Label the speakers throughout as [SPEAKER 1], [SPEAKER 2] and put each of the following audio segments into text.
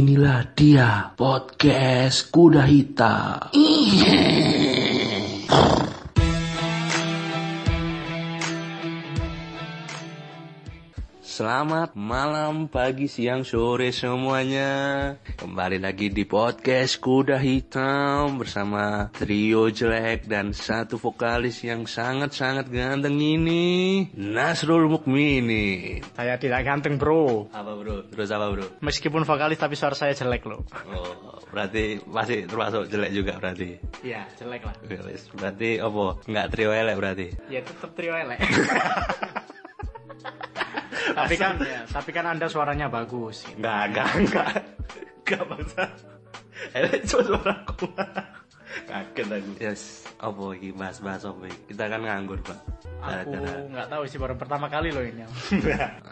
[SPEAKER 1] Inilah dia podcast kuda hitam. Selamat malam, pagi, siang, sore semuanya. Kembali lagi di podcast Kuda Hitam bersama trio jelek dan satu vokalis yang sangat-sangat ganteng ini, Nasrul Mukmini.
[SPEAKER 2] Saya tidak ganteng bro
[SPEAKER 1] Apa bro? Terus apa bro?
[SPEAKER 2] Meskipun vokalis tapi suara saya jelek loh
[SPEAKER 1] Oh, berarti masih termasuk jelek juga berarti.
[SPEAKER 2] Iya jelek lah
[SPEAKER 1] Wis, Berarti apa? Enggak trio elek berarti.
[SPEAKER 2] Ya tetep trio elek Tapi kan tapi kan anda suaranya bagus
[SPEAKER 1] Enggak, enggak, enggak. Enggak bangsa. Elek cuma suara aku. Kaget aku. Yes, apa iki bahas-bahas apa iki? Kita kan nganggur, Pak.
[SPEAKER 2] Aku nggak tahu sih baru pertama kali loh ini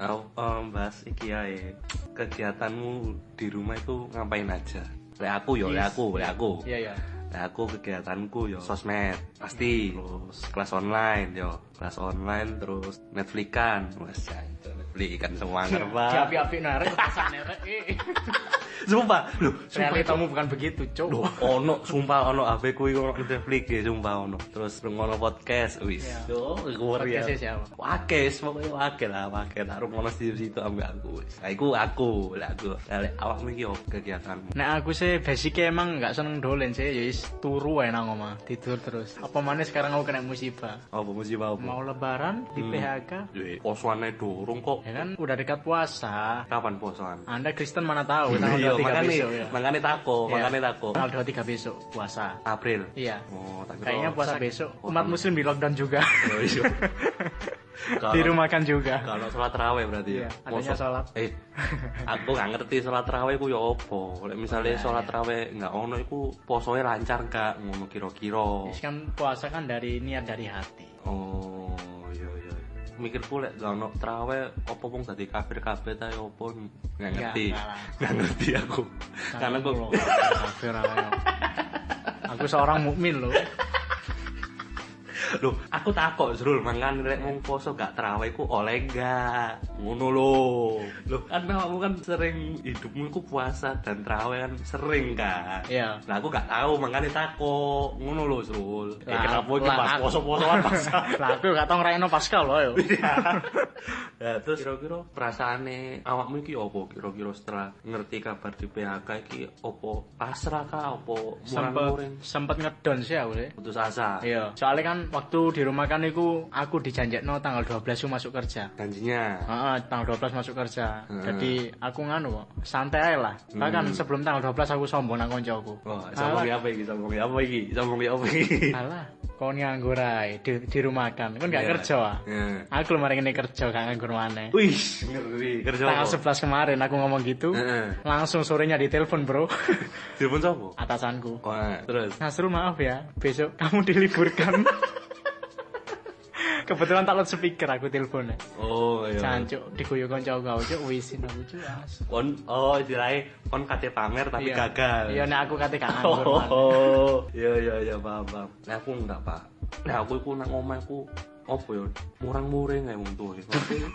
[SPEAKER 1] Aku em, bahas iki ae. Kegiatanmu di rumah itu ngapain aja? Lek aku yo, lek aku, lek aku.
[SPEAKER 2] Iya ya
[SPEAKER 1] Nah, aku kegiatanku yo sosmed pasti terus kelas online yo kelas online terus Netflixan mas ya itu Netflixan semua ngerba
[SPEAKER 2] api-api narik kesannya eh.
[SPEAKER 1] sumpah lu sumpah itu
[SPEAKER 2] Realitamu bukan begitu
[SPEAKER 1] Loh,
[SPEAKER 2] cok
[SPEAKER 1] ono sumpah ono HP ku iku ono Netflix ya sumpah ono terus rungono podcast wis
[SPEAKER 2] Iya.
[SPEAKER 1] yo luar ya
[SPEAKER 2] Podcastnya siapa?
[SPEAKER 1] wake pokoknya wake lah wake tak rungono situ situ ambek aku wis nah, iku aku lah aku Lah, lek awakmu iki apa kegiatanmu
[SPEAKER 2] Nah aku sih basicnya emang nggak seneng dolen sih ya is turu enak ngomong tidur terus apa mana sekarang aku kena musibah
[SPEAKER 1] apa musibah apa
[SPEAKER 2] mau lebaran di PHK
[SPEAKER 1] Duh, posoane dorong kok
[SPEAKER 2] ya kan udah dekat puasa
[SPEAKER 1] kapan posoan
[SPEAKER 2] Anda Kristen mana
[SPEAKER 1] Iya,
[SPEAKER 2] tahu tanggal 23
[SPEAKER 1] makanya,
[SPEAKER 2] besok ya.
[SPEAKER 1] makanya tako,
[SPEAKER 2] Iya.
[SPEAKER 1] makanya tako.
[SPEAKER 2] Tanggal 23 besok puasa.
[SPEAKER 1] April.
[SPEAKER 2] Iya.
[SPEAKER 1] Oh, tak kira.
[SPEAKER 2] Kayaknya puasa besok umat muslim di lockdown juga.
[SPEAKER 1] Oh, iya. Kalau-
[SPEAKER 2] Dirumahkan juga.
[SPEAKER 1] Kalau sholat terawih berarti ya.
[SPEAKER 2] Iya, adanya
[SPEAKER 1] Mosok-
[SPEAKER 2] sholat.
[SPEAKER 1] Eh, aku nggak ngerti sholat terawih ku ya apa. Lek misalnya sholat terawih nggak ono iku posoe lancar gak ngono kira-kira.
[SPEAKER 2] Terus kan puasa kan dari niat dari hati.
[SPEAKER 1] Oh, iya iya. Mikirku lek gak ono terawih apa wong dadi kafir kabeh ta ya apa nggak ngerti.
[SPEAKER 2] nggak lah.
[SPEAKER 1] Nggak ngerti aku. Karena aku
[SPEAKER 2] Aku loh, kafir ayo. Aku seorang mukmin loh.
[SPEAKER 1] Loh, aku takok Zrul, mangan rek mung poso gak terawih ku oleh gak. Ngono lho. Loh, karena kamu kan sering hidupmu ku puasa dan terawih kan sering kan.
[SPEAKER 2] Iya.
[SPEAKER 1] Nah, aku gak tahu makanya takok. Ngono lho, Zrul. Eh,
[SPEAKER 2] Lah,
[SPEAKER 1] kenapa iki
[SPEAKER 2] lah,
[SPEAKER 1] pas
[SPEAKER 2] aku-
[SPEAKER 1] poso-posoan pas.
[SPEAKER 2] Lah aku gak tau ngerayain Pascal loh ayo.
[SPEAKER 1] Ya, terus kira-kira perasaane awakmu iki opo kira-kira setelah ngerti kabar di PHK iki opo pasrah kah opo
[SPEAKER 2] Sempet
[SPEAKER 1] murang-muring
[SPEAKER 2] sempet ngedon sih aku sih.
[SPEAKER 1] putus asa.
[SPEAKER 2] Iya, soalnya kan waktu di rumah kan iku aku dijanjekno tanggal 12 ku masuk kerja.
[SPEAKER 1] Janjinya.
[SPEAKER 2] Heeh, tanggal 12 masuk
[SPEAKER 1] Heeh.
[SPEAKER 2] kerja.
[SPEAKER 1] Hmm.
[SPEAKER 2] Jadi aku nganu kok, santai aja lah. Bahkan sebelum tanggal 12 aku sombong nang koncoku.
[SPEAKER 1] Wah, sombong
[SPEAKER 2] Alah,
[SPEAKER 1] apa iki? Sombong Oh, apa iki? Sombong apa iki?
[SPEAKER 2] Alah, kau nganggur ae di, di rumah kan. Kan gak
[SPEAKER 1] Iya.
[SPEAKER 2] kerja ah.
[SPEAKER 1] Heeh.
[SPEAKER 2] Aku kemarin ini kerja gak nganggur maneh.
[SPEAKER 1] Wih, ngeri kerja
[SPEAKER 2] Tanggal
[SPEAKER 1] apa?
[SPEAKER 2] 11 kemarin aku ngomong gitu.
[SPEAKER 1] Heeh.
[SPEAKER 2] Langsung sorenya ditelepon, Bro.
[SPEAKER 1] Telepon sapa?
[SPEAKER 2] Atasanku.
[SPEAKER 1] Wah, terus.
[SPEAKER 2] Nasrul maaf ya, besok kamu diliburkan. Kebetulan tak load speaker aku teleponnya.
[SPEAKER 1] Oh, iya.
[SPEAKER 2] Cancuk, diguyu konco aku, cuk wisin aku cuk. as.
[SPEAKER 1] Kon oh istilahnya kon kate pamer tapi
[SPEAKER 2] Iya.
[SPEAKER 1] gagal.
[SPEAKER 2] Iya, nek aku kate gak nganggur.
[SPEAKER 1] Oh,
[SPEAKER 2] Mas.
[SPEAKER 1] oh. iya iya iya paham paham. Nah aku enggak pak. Nah aku iku nang omah aku opo ya murang-muring ae wong tuwa.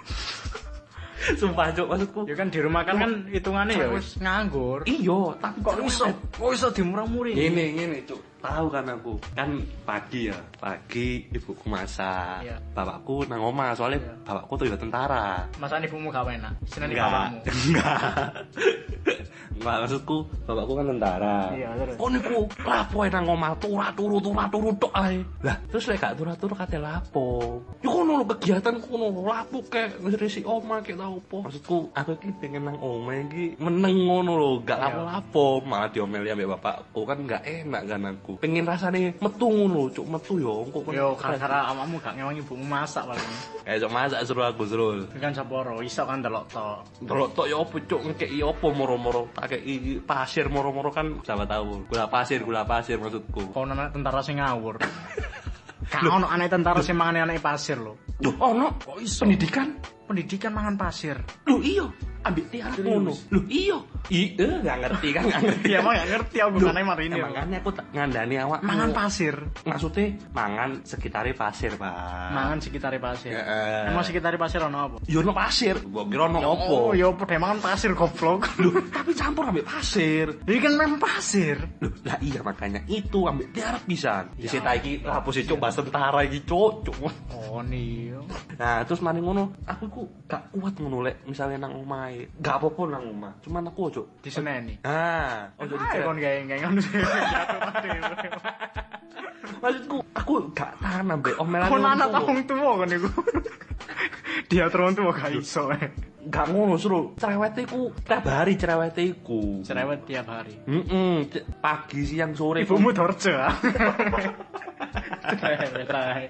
[SPEAKER 1] Sumpah cok maksudku.
[SPEAKER 2] Ya kan di rumah kan kan hitungannya ya wis nganggur.
[SPEAKER 1] Iya, tapi kok iso
[SPEAKER 2] Kok iso dimurah-muri?
[SPEAKER 1] Gini, gini, cuk. Tahu kan aku. Kan pagi ya. Pagi ibuku masak.
[SPEAKER 2] Iya.
[SPEAKER 1] Bapakku nang omah soalnya
[SPEAKER 2] Iya.
[SPEAKER 1] bapakku tuh ya tentara.
[SPEAKER 2] Masane ibumu gak enak. Seneng
[SPEAKER 1] Enggak.
[SPEAKER 2] bapakmu.
[SPEAKER 1] Enggak. Enggak maksudku, bapakku kan tentara.
[SPEAKER 2] Iya, terus.
[SPEAKER 1] Kok niku lapo ae nang omah turu turu turu turu tok ae. Lah, terus lek gak turu turu kate lapo. Yo kono lho kegiatan kono lho, lapo kek ngrisi omah kek tau opo. Maksudku, aku iki pengen nang omah iki meneng ngono lho, gak
[SPEAKER 2] Iya.
[SPEAKER 1] lapo-lapo. Malah diomeli ambek bapakku kan gak enak kan aku. Pengen rasane metu ngono lho, cuk metu yo engko
[SPEAKER 2] Yo kan, karena amamu gak ngewang ibumu masak paling.
[SPEAKER 1] Kayak masak suruh aku suruh.
[SPEAKER 2] Itu kan saporo iso kan delok tok.
[SPEAKER 1] Delok tok ya opo cuk ngekeki opo moro-moro tak kei pasir moro-moro kan sama tahu gula pasir gula pasir maksudku
[SPEAKER 2] Kono anak tentara sing ngawur. Gak ono anak tentara sing mangan anak pasir lho.
[SPEAKER 1] duh ono kok iso pendidikan
[SPEAKER 2] Pendidikan mangan pasir.
[SPEAKER 1] lho iya ambek tiarap ngono lho iya I, eh, nggak ngerti kan, nggak ngerti.
[SPEAKER 2] Ya emang gak ngerti aku
[SPEAKER 1] Duh,
[SPEAKER 2] bukannya
[SPEAKER 1] Eh,
[SPEAKER 2] marinir.
[SPEAKER 1] Makanya aku tak- ngandani awak.
[SPEAKER 2] ya? Mangan pasir.
[SPEAKER 1] Maksudnya mangan sekitarnya pasir, Pak.
[SPEAKER 2] Mangan sekitar pasir.
[SPEAKER 1] Ah. Heeh.
[SPEAKER 2] Emang sekitar pasir ono apa?
[SPEAKER 1] Yo no pasir. Gua kira no opo.
[SPEAKER 2] Oh, ya apa deh mangan pasir goblok.
[SPEAKER 1] Duh, tapi campur ambil pasir.
[SPEAKER 2] Ini kan memang pasir.
[SPEAKER 1] Loh, lah iya makanya itu ambil tiarap pisan. Di sita iki hapus cuk bahasa tentara iki cuk. cuk.
[SPEAKER 2] Oh nih.
[SPEAKER 1] Nah, terus mari ngono, aku ku gak kuat ngono lek misale nang omahe. Gak apa-apa nang omah, cuman aku ojo.
[SPEAKER 2] Di Seneni.
[SPEAKER 1] Ah, ojo
[SPEAKER 2] Ayo,
[SPEAKER 1] dikira.
[SPEAKER 2] kon gak gak ngono sih. Jatuh mati.
[SPEAKER 1] Maksudku, aku gak tahan ambek omelan.
[SPEAKER 2] Kon anak
[SPEAKER 1] ngono.
[SPEAKER 2] wong tuwa kon niku. Dia terus tuwa gak iso. eh.
[SPEAKER 1] Gak ngono suruh. Cerewete ku tiap hari cerewete iku.
[SPEAKER 2] Cerewet tiap hari.
[SPEAKER 1] Mm-mm, c- pagi siang sore
[SPEAKER 2] Ibumu dorce. ah. Cerewet ae.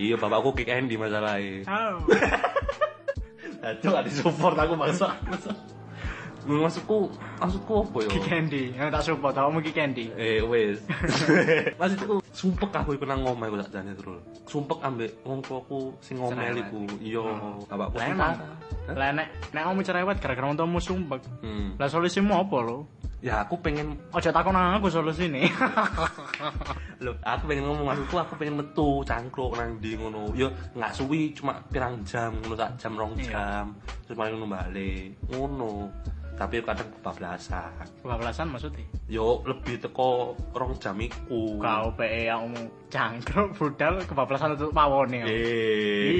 [SPEAKER 1] iya bapakku kick Andy masalahnya
[SPEAKER 2] Au.
[SPEAKER 1] Aduh, ada support aku masak. Maksudku, maksudku apa ya?
[SPEAKER 2] Ki Candy, yang tak support, kamu Ki Candy.
[SPEAKER 1] Eh, wes. Maksudku, sumpek aku iku nang ngomel aku tak jane terus. Sumpek ambek wong tuaku sing ngomel iku. Iya, apa
[SPEAKER 2] Lah emang, lah nek nek kamu cerewet gara-gara wong tuamu sumpek.
[SPEAKER 1] Hmm.
[SPEAKER 2] Lah solusimu apa lo?
[SPEAKER 1] Ya aku pengen
[SPEAKER 2] Ojo takon nang aku solusine.
[SPEAKER 1] Loh, aku pengen ngomong maksudku aku pengen metu cangkruk nang ndi ngono. Ya nggak suwi cuma pirang jam ngono tak jam rong
[SPEAKER 2] Iya.
[SPEAKER 1] jam. Terus mari ngono balik. Ngono. Tapi kadang kebablasan.
[SPEAKER 2] Kebablasan maksudnya?
[SPEAKER 1] Yo lebih teko rong jam iku.
[SPEAKER 2] Kau PE E yang cangkruk budal kebablasan untuk pawone.
[SPEAKER 1] Eh,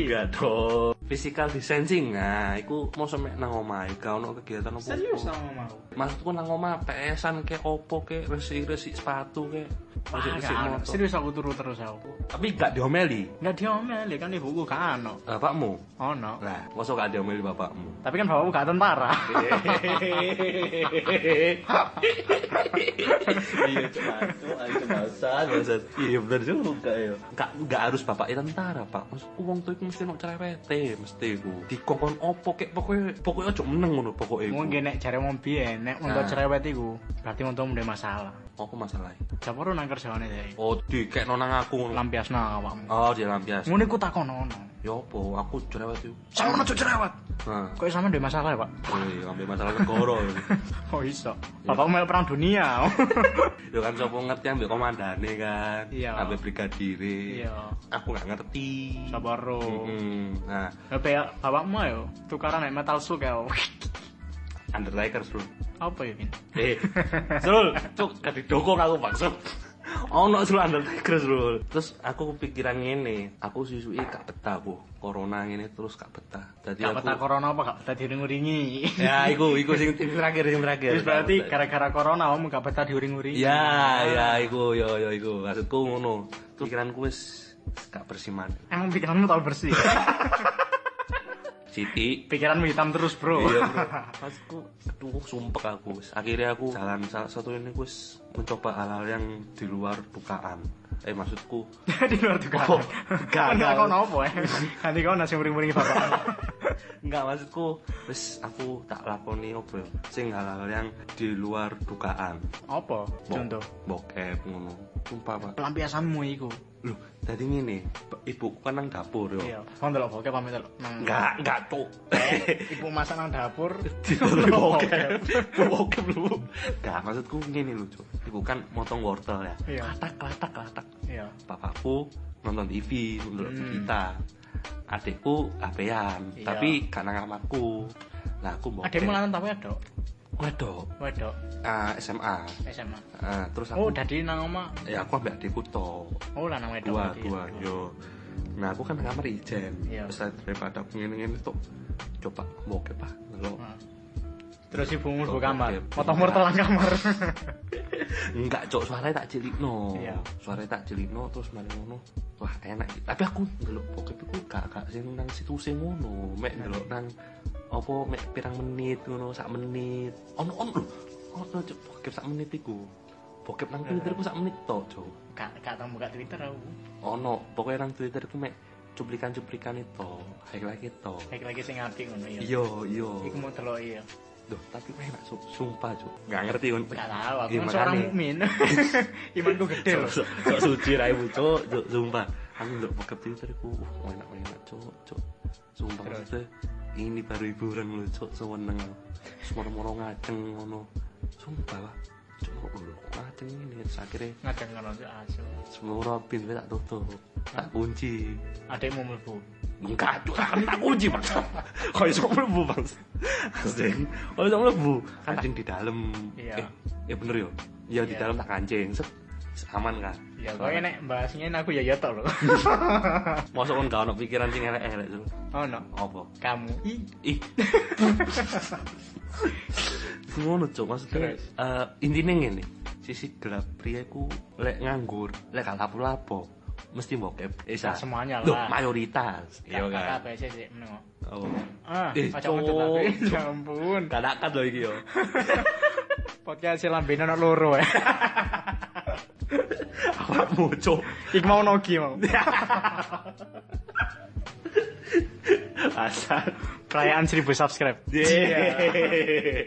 [SPEAKER 2] Iya.
[SPEAKER 1] enggak dong. Physical distancing nah, iku mau semek nang omah, gak ono kegiatan opo.
[SPEAKER 2] sama mau?
[SPEAKER 1] Maksudku nang omah PS-an ke opo ke resik-resik sepatu ke. Resik-resik motor.
[SPEAKER 2] Ah, Serius aku turu terus aku.
[SPEAKER 1] Tapi gak diomeli
[SPEAKER 2] Enggak diomeli kan ibuku gak ano.
[SPEAKER 1] bapakmu.
[SPEAKER 2] Ono.
[SPEAKER 1] Lah, mosok gak diomeli bapakmu.
[SPEAKER 2] Tapi kan bapakku gak tentara.
[SPEAKER 1] Iya, cuma cuma Iya, bener juga ya. Gak, gak harus bapaknya tentara, Pak. Maksudku wong tuh mesti mau cerewete, mesti ku. Dikongkon opo kek pokoknya pokoknya ojo meneng ngono pokoknya. iku.
[SPEAKER 2] Mungkin nek jare wong biyen nek untuk
[SPEAKER 1] Nah.
[SPEAKER 2] cerewet iku berarti wong tuamu ndek masalah.
[SPEAKER 1] Apa masalahnya?
[SPEAKER 2] Japur nang kerjane deh.
[SPEAKER 1] Oh, dikek nonang aku ngono.
[SPEAKER 2] Lampiasno awakmu.
[SPEAKER 1] Oh, dia lampias.
[SPEAKER 2] Ngene ku takon ono.
[SPEAKER 1] Ya apa, aku cerewet yuk.
[SPEAKER 2] Sama cocok cerewet.
[SPEAKER 1] Nah,
[SPEAKER 2] Kok sama ndek masalah ya, Pak?
[SPEAKER 1] eh, ambil masalah negara.
[SPEAKER 2] Oh iso. Bapakku melu perang dunia.
[SPEAKER 1] Ya kan sapa ngerti ambil komandane kan.
[SPEAKER 2] Iya.
[SPEAKER 1] Ambil brigadire.
[SPEAKER 2] Iya.
[SPEAKER 1] Aku gak ngerti.
[SPEAKER 2] Sabar ro.
[SPEAKER 1] Mm-mm. Nah,
[SPEAKER 2] Apa ya bapakmu ayo tukaran nek metal su kae.
[SPEAKER 1] Undertaker Sul.
[SPEAKER 2] Apa ya, Vin?
[SPEAKER 1] Eh, Sul, cuk, kadi dukung aku maksud. Ono Sul Undertaker Sul. Terus aku kepikiran ngene, aku susu-suwi gak betah bu. Corona ngene terus gak betah. Jadi Iya,
[SPEAKER 2] Gak
[SPEAKER 1] aku
[SPEAKER 2] peta corona apa gak peta diuring-uringi.
[SPEAKER 1] Ya, iku iku sing sing terakhir sing terakhir.
[SPEAKER 2] Terus berarti gara-gara corona kamu gak peta diuring-uringi.
[SPEAKER 1] Ya, ya iku yo yo iku. Maksudku ngono. Pikiranku wis gak bersiman.
[SPEAKER 2] Emang pikiranmu tau bersih.
[SPEAKER 1] Siti.
[SPEAKER 2] Pikiranmu hitam terus, Bro.
[SPEAKER 1] Iya, bro. Maksudku, aduh, sumpek aku. wis. Akhirnya aku jalan salah satu ini aku wis mencoba hal-hal yang di luar bukaan. Eh, maksudku,
[SPEAKER 2] Di luar juga.
[SPEAKER 1] Oh, gagal.
[SPEAKER 2] Kan kau nopo ya. Nanti kau nasi uring-uringi bapak.
[SPEAKER 1] enggak maksudku, wis aku tak lakoni opo ya. Sing hal-hal yang di luar bukaan.
[SPEAKER 2] Apa?
[SPEAKER 1] Bo-
[SPEAKER 2] Contoh.
[SPEAKER 1] Bokep ngono. Sumpah, Pak.
[SPEAKER 2] Pelampiasanmu iku.
[SPEAKER 1] Loh, tadi ngene, ibuku kan nang dapur yo.
[SPEAKER 2] Iya. Kau ndelok bokep pamit ndelok. Nang-
[SPEAKER 1] Enggak, enggak tuh.
[SPEAKER 2] Ibu masak nang dapur. Oh, iya.
[SPEAKER 1] Dibeli bokep. Bokep lu. Nah, maksudku ngene lho, Cuk. Ibu kan motong wortel ya.
[SPEAKER 2] Iya.
[SPEAKER 1] Klatak, klatak, klatak.
[SPEAKER 2] Iya.
[SPEAKER 1] Papaku nonton TV, nonton
[SPEAKER 2] Hmm.
[SPEAKER 1] kita. Adikku apean,
[SPEAKER 2] Iya.
[SPEAKER 1] tapi gak nang kamarku. Lah aku bokep.
[SPEAKER 2] Adekmu lanang tapi wedok.
[SPEAKER 1] Waduh,
[SPEAKER 2] Wedok
[SPEAKER 1] ah, SMA.
[SPEAKER 2] SMA.
[SPEAKER 1] Ah, terus
[SPEAKER 2] Oh,
[SPEAKER 1] aku
[SPEAKER 2] dadi nang omah.
[SPEAKER 1] ya aku ambil adikku tok.
[SPEAKER 2] Oh, lanang wedok.
[SPEAKER 1] dua
[SPEAKER 2] berarti.
[SPEAKER 1] dua yo nah aku kan nang kamar ijen
[SPEAKER 2] Iya.
[SPEAKER 1] terus daripada aku ngene-ngene tuh coba bokep pak ngelok
[SPEAKER 2] Nah. Terus ibumu mlebu
[SPEAKER 1] Bokep.
[SPEAKER 2] kamar. Motormu
[SPEAKER 1] Nah.
[SPEAKER 2] telan kamar.
[SPEAKER 1] enggak cok suaranya tak cilikno
[SPEAKER 2] Iya.
[SPEAKER 1] suaranya tak cilikno terus mari ngono wah enak tapi aku ngelok bokep iku gak gak sing nang situsi ngono mek ngelok nang apa mek pirang menit ngono sak menit ono ono lho ono cok bokep sak menit iku bokep nang twitterku sak menit tok cok
[SPEAKER 2] Kak, kak tau buka Twitter aku.
[SPEAKER 1] ono pokoknya nang twitterku mek cuplikan-cuplikan itu highlight itu
[SPEAKER 2] Kayak lagi sing apik ngono ya.
[SPEAKER 1] Iyo, iyo.
[SPEAKER 2] Iku mau delok iya.
[SPEAKER 1] Duh, tapi enak, su- sumpah, Cuk. Gak ngerti kon.
[SPEAKER 2] Gak tahu, aku
[SPEAKER 1] Iya,
[SPEAKER 2] kan seorang
[SPEAKER 1] makanya.
[SPEAKER 2] mukmin. Imanku gede loh.
[SPEAKER 1] Sok- Sok suci raimu, Cuk, Cuk, sumpah. Aku ndelok bokep Twitter iku, uh, enak enak, Cuk, Cuk. Sumpah
[SPEAKER 2] Terus?
[SPEAKER 1] maksudnya ini baru hiburan lho cok seweneng semoro-moro ngaceng ngono sumpah lah cok lho ngaceng ini terus akhirnya
[SPEAKER 2] ngajak ngono cuk Ah, asu.
[SPEAKER 1] semua pintu tak tutup tak kunci
[SPEAKER 2] Adekmu mlebu.
[SPEAKER 1] enggak tuh kan tak kunci bang kau esok mlebu bang asing kau esok mlebu kancing di dalam
[SPEAKER 2] Iya.
[SPEAKER 1] eh, ya bener yo ya di
[SPEAKER 2] Iya.
[SPEAKER 1] dalam tak kancing set Set, aman kan
[SPEAKER 2] Ya kok enek bahasnya aku ya ya tok lho.
[SPEAKER 1] masuk kan kau pikiran sing elek elek tuh
[SPEAKER 2] Oh no.
[SPEAKER 1] apa
[SPEAKER 2] Kamu. Ih,
[SPEAKER 1] ih ngono cok maksudnya
[SPEAKER 2] Terus?
[SPEAKER 1] eh, intinya ngene sisi gelap pria ku lek nganggur lek gak lapo-lapo mesti bokep Esa.
[SPEAKER 2] Semuanya
[SPEAKER 1] Loh,
[SPEAKER 2] lah.
[SPEAKER 1] mayoritas Iya, kan?
[SPEAKER 2] kakak apa sih sih menengok.
[SPEAKER 1] oh.
[SPEAKER 2] Ah,
[SPEAKER 1] Eh,
[SPEAKER 2] kacau
[SPEAKER 1] cowok.
[SPEAKER 2] mencet aku. Ya ampun.
[SPEAKER 1] kadakat loh iki yo
[SPEAKER 2] Podcast si lambenan ono loro ya.
[SPEAKER 1] awakmu cok
[SPEAKER 2] Ik mau nogi mau.
[SPEAKER 1] asal
[SPEAKER 2] Perayaan 1000 subscribe. Iya.
[SPEAKER 1] Yeay.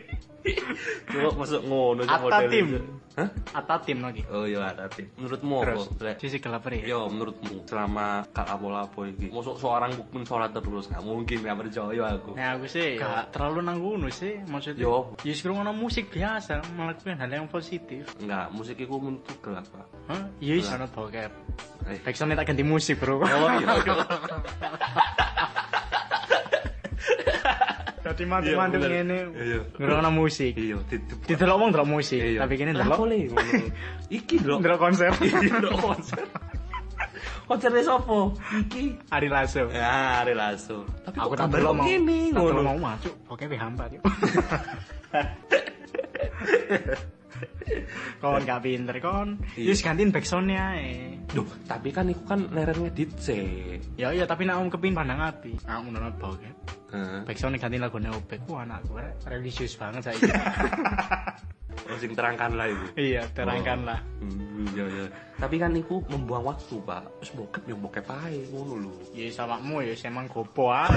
[SPEAKER 1] Cok masuk ngono Cok,
[SPEAKER 2] Atta
[SPEAKER 1] modelnya,
[SPEAKER 2] Tim.
[SPEAKER 1] Cok. Hah?
[SPEAKER 2] Atau tim nogi.
[SPEAKER 1] Oh iya Atta Tim. Menurutmu apa?
[SPEAKER 2] Terus
[SPEAKER 1] Lek?
[SPEAKER 2] sisi gelap ya.
[SPEAKER 1] Yo menurutmu selama kak lapo-lapo iki, mosok seorang pun sholat terus nggak mungkin nggak percaya aku.
[SPEAKER 2] Nah aku sih gak terlalu nanggung sih maksudnya.
[SPEAKER 1] Yo.
[SPEAKER 2] Ya sekarang ono musik biasa melakukan hal yang positif.
[SPEAKER 1] Enggak, musik iku menurut gelap pak.
[SPEAKER 2] Hah? Iya wis ono bokep.
[SPEAKER 1] Eh.
[SPEAKER 2] Backsound tak ganti musik, Bro.
[SPEAKER 1] Oh iya.
[SPEAKER 2] Dadi
[SPEAKER 1] Iya,
[SPEAKER 2] mantu-mantu
[SPEAKER 1] bener.
[SPEAKER 2] ngene.
[SPEAKER 1] Iya.
[SPEAKER 2] Ngrungokno musik.
[SPEAKER 1] Iya, titip.
[SPEAKER 2] Didelok wong delok musik,
[SPEAKER 1] Iya.
[SPEAKER 2] tapi kene
[SPEAKER 1] Lah,
[SPEAKER 2] delok
[SPEAKER 1] boleh Iya. ngono. Iki lho.
[SPEAKER 2] delok konser.
[SPEAKER 1] Iki lho konser. Konsernya sopo? Iki.
[SPEAKER 2] Ari Lasso.
[SPEAKER 1] Ya, relaso. Tapi
[SPEAKER 2] Aku
[SPEAKER 1] kok
[SPEAKER 2] tak delok mau.
[SPEAKER 1] gini
[SPEAKER 2] tak delok
[SPEAKER 1] ngono.
[SPEAKER 2] mau masuk, bokep hampa yo. kon gak pinter kon.
[SPEAKER 1] Iya.
[SPEAKER 2] Wis gantiin backsound ae.
[SPEAKER 1] Duh, tapi kan iku kan leren ngedit sih.
[SPEAKER 2] Ya iya tapi nek om kepin pandang ati. Aku ngono bokep.
[SPEAKER 1] Heeh.
[SPEAKER 2] Backsound ganti lagune Obek. Wah anakku rek, religius banget saiki.
[SPEAKER 1] Oh, sing terangkan lah iku.
[SPEAKER 2] iya, terangkanlah.
[SPEAKER 1] Hmm, iya, iya. Tapi kan iku membuang waktu, Pak. Terus bokep yang bokep ae ngono lho.
[SPEAKER 2] Ya sawakmu ya emang gopo ae.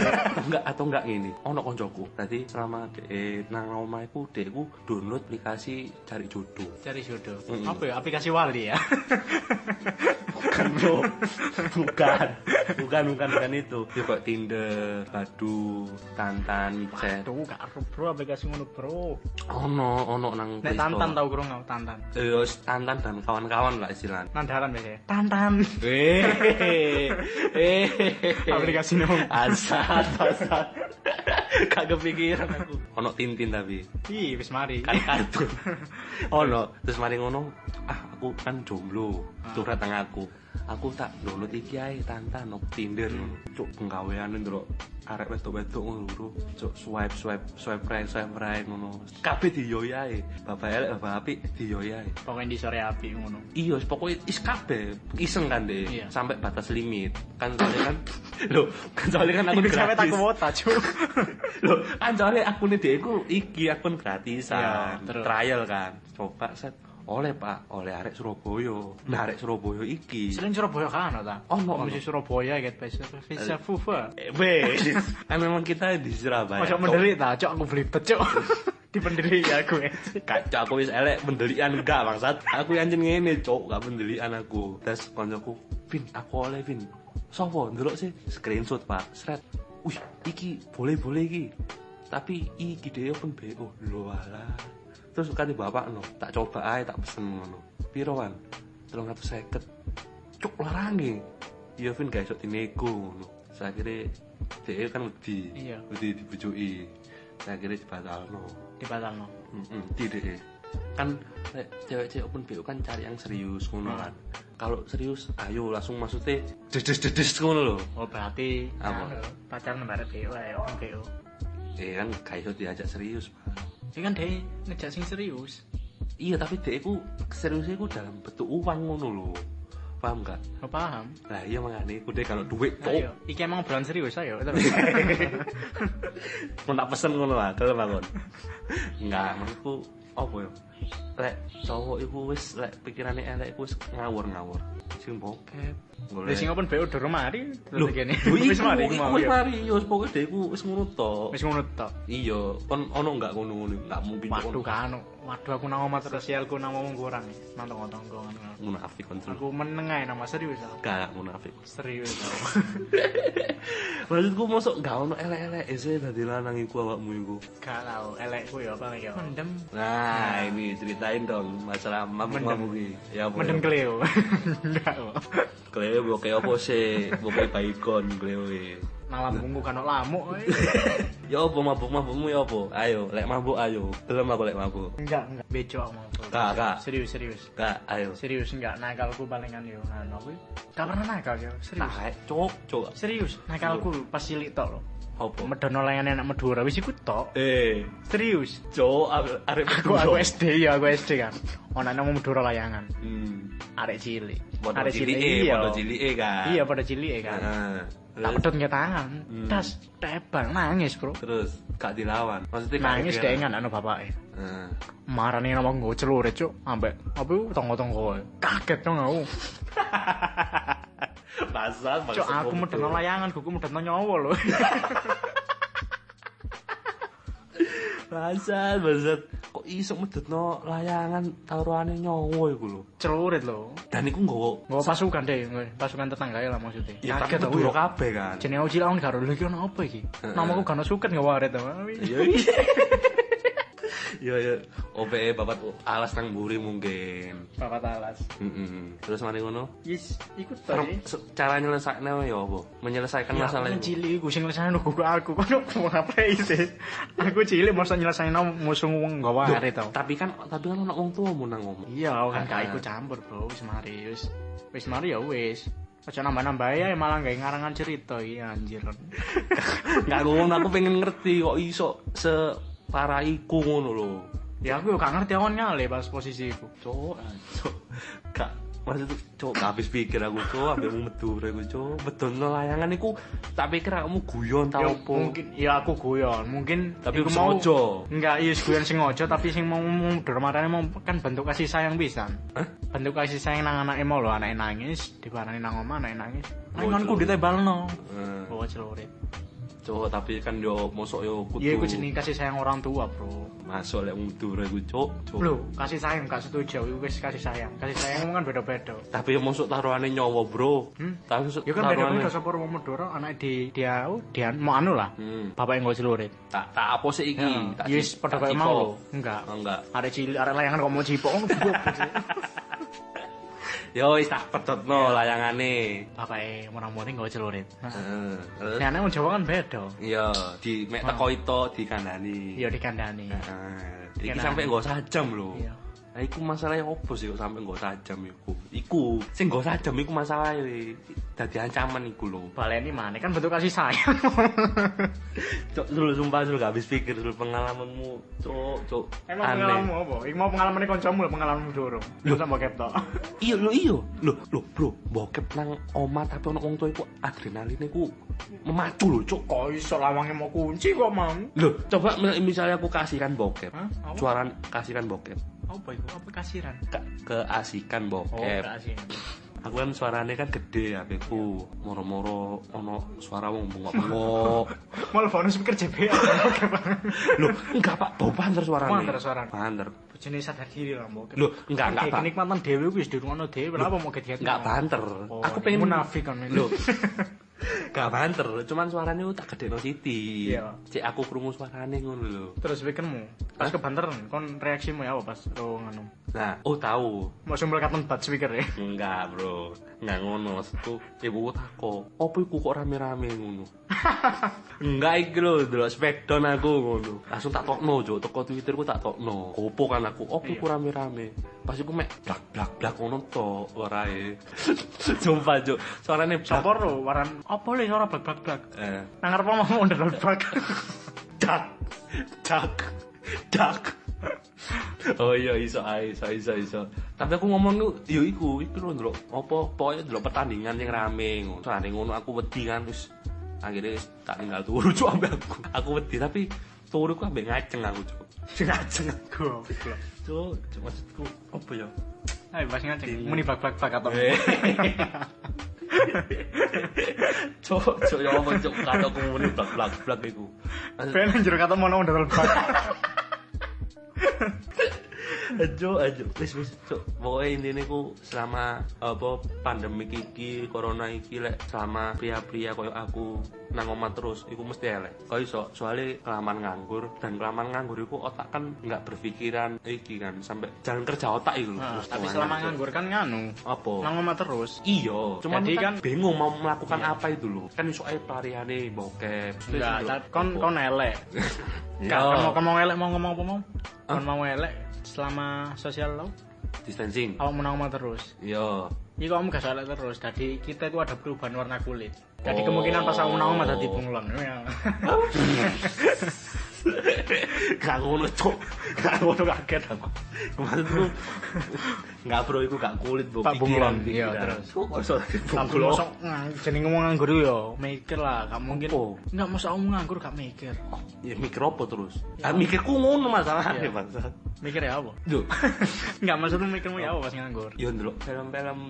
[SPEAKER 1] enggak atau enggak gini ono koncoku tadi selama de nang omah iku dekku download aplikasi cari jodoh
[SPEAKER 2] Cari jodoh.
[SPEAKER 1] Mm-mm.
[SPEAKER 2] Apa ya aplikasi wali ya?
[SPEAKER 1] bukan bro bukan bukan bukan bukan itu ya kok Tinder Badu Tantan Micet
[SPEAKER 2] Tuh gak arup bro aplikasi ngono bro.
[SPEAKER 1] ono ono nang
[SPEAKER 2] Nek
[SPEAKER 1] Play Store.
[SPEAKER 2] tantan tau kurang nggak tantan.
[SPEAKER 1] Eh, Tantan dan kawan-kawan lah istilahnya
[SPEAKER 2] Nandaran biasanya. Tantan. Eh.
[SPEAKER 1] Hehehe.
[SPEAKER 2] Aplikasi nom.
[SPEAKER 1] asat asat kagak kepikiran aku ono Tintin tapi
[SPEAKER 2] Ih, wis mari.
[SPEAKER 1] kan kartu ono terus mari ngono ah aku kan jomblo curhat nang aku aku tak download iki ae tantan op Tinder ngono cuk penggaweane ndelok arek wedok-wedok ngono lho cuk swipe swipe swipe right swipe right ngono kabeh diyoyi ae bapak elek bapak apik diyoyi ae
[SPEAKER 2] Pokoknya di sore api ngono.
[SPEAKER 1] Iya, pokoknya is kabeh iseng kan deh,
[SPEAKER 2] Iya.
[SPEAKER 1] sampai batas limit. Kan soalnya kan, loh, kan soalnya kan aku
[SPEAKER 2] Ini sampe tak
[SPEAKER 1] gratis.
[SPEAKER 2] kuota, Cuk.
[SPEAKER 1] Loh, kan soalnya akun dia aku iki akun
[SPEAKER 2] Iya,
[SPEAKER 1] gratisan,
[SPEAKER 2] terus.
[SPEAKER 1] trial kan. Coba set oleh Pak, oleh arek Surabaya. Nah, arek Surabaya iki.
[SPEAKER 2] Selain Surabaya kan ada.
[SPEAKER 1] Ono, ono.
[SPEAKER 2] Mesti Surabaya gitu bisa bisa fufa.
[SPEAKER 1] Eh, Wes, kan memang kita di Surabaya.
[SPEAKER 2] Ojo mendelik ta, Cuk, aku beli pecuk. Dipendelik ya aku.
[SPEAKER 1] Kacau aku wis elek mendelian enggak bangsat. Aku yang jenenge ngene, cok, gak mendelian aku. Terus koncoku, "Vin, aku oleh Vin." Sopo ndelok sih screenshot, Pak. Sret. Wih, iki boleh-boleh iki. Tapi iki dhewe open BO. Lho alah. Terus kate bapak no, tak coba ae tak pesen ngono. Piro wan? 350. Cuk larange. Iya Vin gak iso dinego ngono. Sakire dhewe kan wedi.
[SPEAKER 2] Iya.
[SPEAKER 1] Wedi dibujuki. Sakire dibatalno.
[SPEAKER 2] Dibatalno.
[SPEAKER 1] Mm-mm, di DE. kan lek cewek-cewek open BO kan cari yang serius ngono kan
[SPEAKER 2] Mm.
[SPEAKER 1] kalau serius ayo langsung maksudnya dedes dedes ngono lho
[SPEAKER 2] Oh berarti
[SPEAKER 1] Apa?
[SPEAKER 2] anu, pacar nembar BO ya, orang BO.
[SPEAKER 1] eh kan gak iso diajak serius Pak.
[SPEAKER 2] Ini kan dia ngejak sing serius.
[SPEAKER 1] iya tapi DE ku seriusnya ku dalam bentuk uang ngono lho paham gak?
[SPEAKER 2] Gak paham.
[SPEAKER 1] lah iya makanya ku deh kalau duit
[SPEAKER 2] Ayo,
[SPEAKER 1] cok
[SPEAKER 2] iya. iki emang obrolan serius ayo.
[SPEAKER 1] mau tak pesen ngono lah kalau bangun enggak menurutku apa ya lek cowok iku wis lek pikirannya elek iku wis ngawur-ngawur sing bokep
[SPEAKER 2] Lah sing open BO durung mari.
[SPEAKER 1] Lho,
[SPEAKER 2] kene.
[SPEAKER 1] lho iku,
[SPEAKER 2] Wis mari
[SPEAKER 1] iku
[SPEAKER 2] mau.
[SPEAKER 1] Wis
[SPEAKER 2] ya.
[SPEAKER 1] mari, yo wis pokoke dhewe iku wis ngono tok.
[SPEAKER 2] Wis ngono tok.
[SPEAKER 1] Iya, kon ono enggak ngono-ngono, enggak mungkin.
[SPEAKER 2] Waduh
[SPEAKER 1] kon-
[SPEAKER 2] kanu. Waduh aku nang omah terus sialku nang omong kurang. Nang tonggo-tonggo ngono.
[SPEAKER 1] Munafik kontrol.
[SPEAKER 2] Aku meneng ae nang Mas, serius aku.
[SPEAKER 1] Gak munafik.
[SPEAKER 2] Serius aku.
[SPEAKER 1] Maksudku mosok gak ono elek-elek ese dadi lanang iku awakmu iku.
[SPEAKER 2] Gak tau elekku ya paling ya. Mendem.
[SPEAKER 1] Nah, ini ceritain dong masalah mabuk-mabuk iki. Ya apa? ya?
[SPEAKER 2] Mendem Cleo. Enggak kok.
[SPEAKER 1] Kleo boke opo sih? Boke baikon kleo e.
[SPEAKER 2] Nang lambungku kan ono lamuk. woy.
[SPEAKER 1] Ya opo mabuk-mabukmu ya opo? Ayo, lek mabuk ayo. Belum aku lek mabuk.
[SPEAKER 2] Enggak, enggak. Becok aku mau.
[SPEAKER 1] Kak, kak.
[SPEAKER 2] Serius, serius.
[SPEAKER 1] Kak, ayo.
[SPEAKER 2] Serius enggak nakalku palingan yo anu aku. Gak pernah nakal yo, serius.
[SPEAKER 1] Nah, cok, cok.
[SPEAKER 2] Serius, nakalku pas cilik tok lho.
[SPEAKER 1] Opo?
[SPEAKER 2] Medono layangan enak Madura wis iku tok.
[SPEAKER 1] Eh,
[SPEAKER 2] Serius.
[SPEAKER 1] cok are- arep
[SPEAKER 2] Aku aku SD ya, aku SD kan. Ono nang Madura layangan.
[SPEAKER 1] Hmm.
[SPEAKER 2] Arek cilik.
[SPEAKER 1] Podo
[SPEAKER 2] Arek
[SPEAKER 1] cilike,
[SPEAKER 2] iya.
[SPEAKER 1] podo cilike e, kan.
[SPEAKER 2] Iya, pada cilik kan.
[SPEAKER 1] Heeh.
[SPEAKER 2] Tak pedot ke tangan.
[SPEAKER 1] Hmm.
[SPEAKER 2] Tas tebang nangis, Bro.
[SPEAKER 1] Terus gak dilawan. Maksudnya gak Ah.
[SPEAKER 2] Nangis
[SPEAKER 1] dikira.
[SPEAKER 2] dengan anu bapake.
[SPEAKER 1] Heeh.
[SPEAKER 2] Marani nama gue celur cuk, ambek apa itu tonggo-tonggo kaget dong aku.
[SPEAKER 1] Basah,
[SPEAKER 2] Cuk aku medeno layangan, guku medeno nyawa lho.
[SPEAKER 1] Basah, basah. Kok iso medetno layangan taruhane nyawa iku lho.
[SPEAKER 2] Celurit lho.
[SPEAKER 1] Dan iku nggowo
[SPEAKER 2] Gue pasukan deh, nggo pasukan tetangga lah maksudnya.
[SPEAKER 1] ya tak
[SPEAKER 2] aku.
[SPEAKER 1] meduro
[SPEAKER 2] ya.
[SPEAKER 1] kabeh kan.
[SPEAKER 2] Jenenge uji lawan karo lho iki ono apa iki?
[SPEAKER 1] Heeh.
[SPEAKER 2] Namaku gak ono suket gak waret to.
[SPEAKER 1] Iya iya. Iya iya. Ope babat alas nang mburi mungkin.
[SPEAKER 2] Papa talas.
[SPEAKER 1] Mm-mm. Terus mari ngono.
[SPEAKER 2] Yes, ikut
[SPEAKER 1] Ter- se- Cara nyelesaikannya ya apa? Menyelesaikan
[SPEAKER 2] Ya,
[SPEAKER 1] masalah
[SPEAKER 2] aku
[SPEAKER 1] itu.
[SPEAKER 2] cilik iku sing nyelesain gugu aku. Kono mau ngapain sih? Aku cilik mosok nyelesain musuh wong gak waret to.
[SPEAKER 1] Tapi kan tapi kan anak wong tuamu nang ngomong.
[SPEAKER 2] Iya, aku kan gak
[SPEAKER 1] Ah.
[SPEAKER 2] ikut campur, Bro. Wis mari wis. Wis mari ya wis. Aja nambah-nambah ya malah gak ngarangan cerita iki anjir.
[SPEAKER 1] Enggak ngono aku pengen ngerti kok iso separah iku ngono lho.
[SPEAKER 2] ya aku yo gak ngerti awan nyale pas posisi iku.
[SPEAKER 1] Cok, ah, cok. Gak maksud cok gak habis pikir aku cok ambil mau medure aku cok. Betul no layangan iku tak pikir aku guyon tau
[SPEAKER 2] Ya,
[SPEAKER 1] opo.
[SPEAKER 2] mungkin ya aku guyon, mungkin
[SPEAKER 1] Tapi
[SPEAKER 2] iku
[SPEAKER 1] sengaja.
[SPEAKER 2] Enggak, iya guyon sengaja tapi sing mau mundur marane mau kan bentuk kasih sayang pisan.
[SPEAKER 1] Hah?
[SPEAKER 2] Bentuk kasih sayang nang anake mau lho, anake nangis, dibarani nang omah anake nangis.
[SPEAKER 1] Oh,
[SPEAKER 2] Angonku ditebalno.
[SPEAKER 1] Eh,
[SPEAKER 2] Bawa celurit.
[SPEAKER 1] Cok, tapi kan yo mosok yo kudu.
[SPEAKER 2] Iya, iku jenenge kasih sayang orang tua, Bro.
[SPEAKER 1] Masuk lek medure aku cok, cok.
[SPEAKER 2] Loh, kasih sayang gak setuju, iku wis kasih sayang. Kasih sayang kan beda-beda.
[SPEAKER 1] Tapi yo mosok taruhane nyawa, Bro.
[SPEAKER 2] Hmm?
[SPEAKER 1] Tapi mosok
[SPEAKER 2] Ya kan beda-beda sapa wong Madura anak di dia dia mau anu lah.
[SPEAKER 1] Hmm.
[SPEAKER 2] Bapak yang celurit. Iya,
[SPEAKER 1] Tak tak apa sih iki? Tak
[SPEAKER 2] Yes,
[SPEAKER 1] ci-
[SPEAKER 2] pada
[SPEAKER 1] tak
[SPEAKER 2] kayak mau.
[SPEAKER 1] cipok.
[SPEAKER 2] Enggak.
[SPEAKER 1] Oh, enggak.
[SPEAKER 2] Arek cilik, arek layangan kok mau cipok. Oh, goblok.
[SPEAKER 1] Yo wis tak pedotno layangane.
[SPEAKER 2] Bapake murang-muring gak celurit. Nah,
[SPEAKER 1] Heeh. Terus
[SPEAKER 2] Nah, nek wong Jawa kan beda.
[SPEAKER 1] Iya, di mek teko itu dikandani.
[SPEAKER 2] Ya dikandani.
[SPEAKER 1] Nah, iki
[SPEAKER 2] Dikandani.
[SPEAKER 1] sampe nggo sajam lho.
[SPEAKER 2] Iya.
[SPEAKER 1] Nah, iku masalahnya opo sih kok sampe nggo sajam iku. Iku sing nggo sajam iku masalahnya dadi ancaman iku lho.
[SPEAKER 2] Baleni mana kan bentuk kasih sayang.
[SPEAKER 1] Cok, dulu sumpah dulu gak habis pikir dulu pengalamanmu. Cok, cok.
[SPEAKER 2] Emang
[SPEAKER 1] aneh.
[SPEAKER 2] pengalamanmu apa? Iku mau pengalamannya kancamu lah pengalamanmu dorong. Lu sama kepto.
[SPEAKER 1] Iya, lho iya. Lho, lho, bro, bokep nang oma tapi ono wong tua iku adrenalinnya iku memacu lho, cok.
[SPEAKER 2] Kok iso lawange mau kunci kok mau?
[SPEAKER 1] Loh, coba misalnya aku kasihkan bokep.
[SPEAKER 2] Hah? Apa?
[SPEAKER 1] Suara kasihkan bokep.
[SPEAKER 2] Apa iku? Apa kasiran?
[SPEAKER 1] Ke keasikan bokep.
[SPEAKER 2] Oh, kasih.
[SPEAKER 1] aku kan suaranya kan gede ya aku
[SPEAKER 2] Iya.
[SPEAKER 1] moro-moro ono suara wong bengok-bengok
[SPEAKER 2] Malah bonus mikir JBA. Oke, Bang.
[SPEAKER 1] lho enggak pak bau banter suaranya
[SPEAKER 2] Banter suaranya.
[SPEAKER 1] banter
[SPEAKER 2] bojone sadar diri lah mbok. Kan
[SPEAKER 1] Loh, enggak, enggak, Pak.
[SPEAKER 2] Kenikmatan dhewe kuwi wis dirungono dhewe, kenapa mau kegiatan?
[SPEAKER 1] enggak banter
[SPEAKER 2] Oh,
[SPEAKER 1] aku pengen
[SPEAKER 2] munafik kan ini.
[SPEAKER 1] lho enggak banter cuman suaranya tak gede no siti
[SPEAKER 2] Iya.
[SPEAKER 1] cek aku krungu suaranya ngono lho
[SPEAKER 2] Terus weekendmu, pas kebanteran, kon reaksimu ya apa pas lo ngono?
[SPEAKER 1] nah oh tahu
[SPEAKER 2] Mau sumpel katon bat speaker ya.
[SPEAKER 1] enggak bro enggak ngono maksudku ibu tako opo iku kok rame-rame ngono enggak iki lho delok smackdown aku ngono langsung tak tokno jo teko twitterku tak tokno opo kan aku opo iku rame-rame pas iku mek blak blak blak ngono to orae jumpa jo suarane blak
[SPEAKER 2] Sopor lo waran apa le ora blak-blak.
[SPEAKER 1] eh
[SPEAKER 2] Nang ngarep omahmu ndel blak.
[SPEAKER 1] dak dak dak Oh iya iso ae iso iso iso. Tapi aku ngomong ku yo iku iku lho ndelok apa pokoke ndelok pertandingan yang rame ngono. Soale ngono aku wedi kan wis akhirnya wis tak tinggal turu cuk ambek aku. Aku wedi tapi turu ku ambek ngaceng aku cuk. Ngaceng aku.
[SPEAKER 2] Goblok.
[SPEAKER 1] Cuk, cuk maksudku apa ya?
[SPEAKER 2] Ayo pas
[SPEAKER 1] Iya.
[SPEAKER 2] ngajeng muni blak-blak blak atau.
[SPEAKER 1] Eh. Cuk, cuk ya apa cuk kata aku muni blak-blak blak iku. Maksud-
[SPEAKER 2] Ben njero katon mau ndel blak.
[SPEAKER 1] Ajo, ajo, wis wis, cuk. Pokoke intine ku selama apa pandemi iki, corona iki lek selama pria-pria koyo aku nang omah terus iku mesti elek. Kok iso? Soale kelamaan nganggur dan kelamaan nganggur iku otak kan nggak berpikiran iki kan sampai jalan kerja otak iku.
[SPEAKER 2] Nah,
[SPEAKER 1] Terus
[SPEAKER 2] Ah,
[SPEAKER 1] tuh,
[SPEAKER 2] tapi
[SPEAKER 1] Oh.
[SPEAKER 2] selama
[SPEAKER 1] anak,
[SPEAKER 2] nganggur kan nganu.
[SPEAKER 1] Cuk. apa?
[SPEAKER 2] Nang omah terus.
[SPEAKER 1] Iya, cuman
[SPEAKER 2] Jadi
[SPEAKER 1] kan,
[SPEAKER 2] kan-
[SPEAKER 1] bingung mau melakukan apa itu loh. Kan iso ae pelariane bokep. terus
[SPEAKER 2] Enggak,
[SPEAKER 1] itu.
[SPEAKER 2] cat- kon kon elek.
[SPEAKER 1] Oh. Iya.
[SPEAKER 2] Enggak, kon mau kon mau elek mau ngomong apa mau? Kon mau elek selama sosial lo,
[SPEAKER 1] distancing.
[SPEAKER 2] awak menang omah terus.
[SPEAKER 1] Iya.
[SPEAKER 2] Ini kamu gak salah terus, jadi kita itu ada perubahan warna kulit. Jadi
[SPEAKER 1] Oh.
[SPEAKER 2] kemungkinan pas kamu nang omah tadi bunglon. Ya.
[SPEAKER 1] gak ngono cok gak ngono kaget aku kemarin tuh gak bro itu gak kulit bro
[SPEAKER 2] Tak bunglon,
[SPEAKER 1] pikiran,
[SPEAKER 2] iya,
[SPEAKER 1] pikiran.
[SPEAKER 2] terus.
[SPEAKER 1] kok iso tadi
[SPEAKER 2] Tapi
[SPEAKER 1] bunglon?
[SPEAKER 2] mosok ngang- jadi ngomong nganggur yo, mikir lah, gak mungkin.
[SPEAKER 1] Apa?
[SPEAKER 2] Enggak mosok kamu nganggur gak mikir.
[SPEAKER 1] ya mikir apa terus ah mikirku ngono masalahnya
[SPEAKER 2] Ya. Iya.
[SPEAKER 1] bangsa
[SPEAKER 2] Mikir ya apa?
[SPEAKER 1] Duh,
[SPEAKER 2] Enggak maksudmu mikirmu ya apa pas nganggur?
[SPEAKER 1] yo ndelok film-film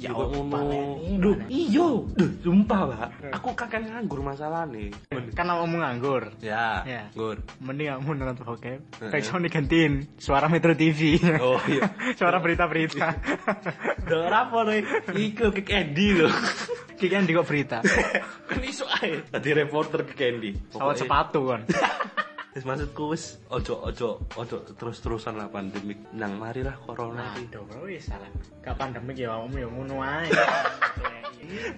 [SPEAKER 2] Ya
[SPEAKER 1] juga
[SPEAKER 2] apa, Leni,
[SPEAKER 1] Duh,
[SPEAKER 2] Leni.
[SPEAKER 1] iya. Duh, sumpah, Pak.
[SPEAKER 2] Hmm.
[SPEAKER 1] Aku kakek nganggur masalah nih.
[SPEAKER 2] Kan kamu nganggur.
[SPEAKER 1] Ya,
[SPEAKER 2] Iya.
[SPEAKER 1] nganggur.
[SPEAKER 2] Mending kamu nonton bokep.
[SPEAKER 1] Heeh.
[SPEAKER 2] Backsound digantiin suara Metro TV.
[SPEAKER 1] Eh. Oh, iya.
[SPEAKER 2] suara berita-berita.
[SPEAKER 1] Duh, apa nih? Iku ke Candy loh.
[SPEAKER 2] Kiki kan kok berita.
[SPEAKER 1] kan iso ae. Tadi reporter ke Candy.
[SPEAKER 2] Sawat
[SPEAKER 1] Pokoknya-
[SPEAKER 2] sepatu kan.
[SPEAKER 1] Terus maksudku wis ojo ojo ojo terus-terusan lah pandemik. Nang marilah corona iki.
[SPEAKER 2] Aduh, Nah, bro, wis salah. Gak pandemik ya kamu ya ngono ae.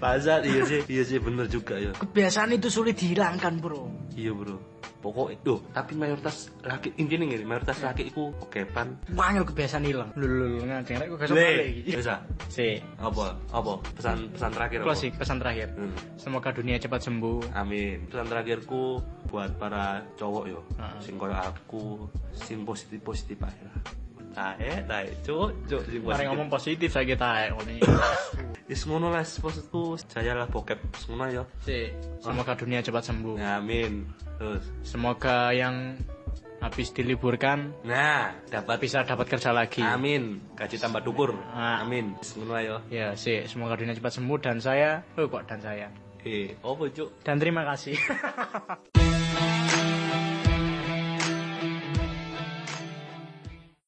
[SPEAKER 1] Bazar iya sih, iya sih bener juga ya.
[SPEAKER 2] Kebiasaan itu sulit dihilangkan, Bro.
[SPEAKER 1] Iya, Bro. Pokok itu, tapi mayoritas laki intinya gini, mayoritas laki iku kepan.
[SPEAKER 2] Wangil kebiasaan hilang. Lulu ngajeng rek nah, kok gak
[SPEAKER 1] Le,
[SPEAKER 2] balik.
[SPEAKER 1] bisa.
[SPEAKER 2] Si,
[SPEAKER 1] Apa? Apa? ah, Pesan pesan terakhir apa?
[SPEAKER 2] closing pesan terakhir.
[SPEAKER 1] Hmm.
[SPEAKER 2] Semoga dunia cepat sembuh.
[SPEAKER 1] Amin. Pesan terakhirku buat para cowok yo,
[SPEAKER 2] Heeh.
[SPEAKER 1] sing koyo aku, sing positif positif ae lah. Tae, tae, cuk, cuk, sing
[SPEAKER 2] Mari
[SPEAKER 1] positif.
[SPEAKER 2] ngomong positif saya kita ae.
[SPEAKER 1] Is ngono lah, maksudku, jayalah bokep, Is ngono yo.
[SPEAKER 2] Si, semoga dunia cepat sembuh.
[SPEAKER 1] Ya. Amin. Terus.
[SPEAKER 2] Semoga yang habis diliburkan
[SPEAKER 1] Nah, dapat
[SPEAKER 2] bisa dapat kerja lagi.
[SPEAKER 1] Amin. Gaji tambah dukur.
[SPEAKER 2] Ah.
[SPEAKER 1] Amin. Ngono ayo.
[SPEAKER 2] Ya, sih, semoga dunia cepat sembuh dan saya, oh kok dan saya.
[SPEAKER 1] Eh, opo cuk?
[SPEAKER 2] Dan terima kasih.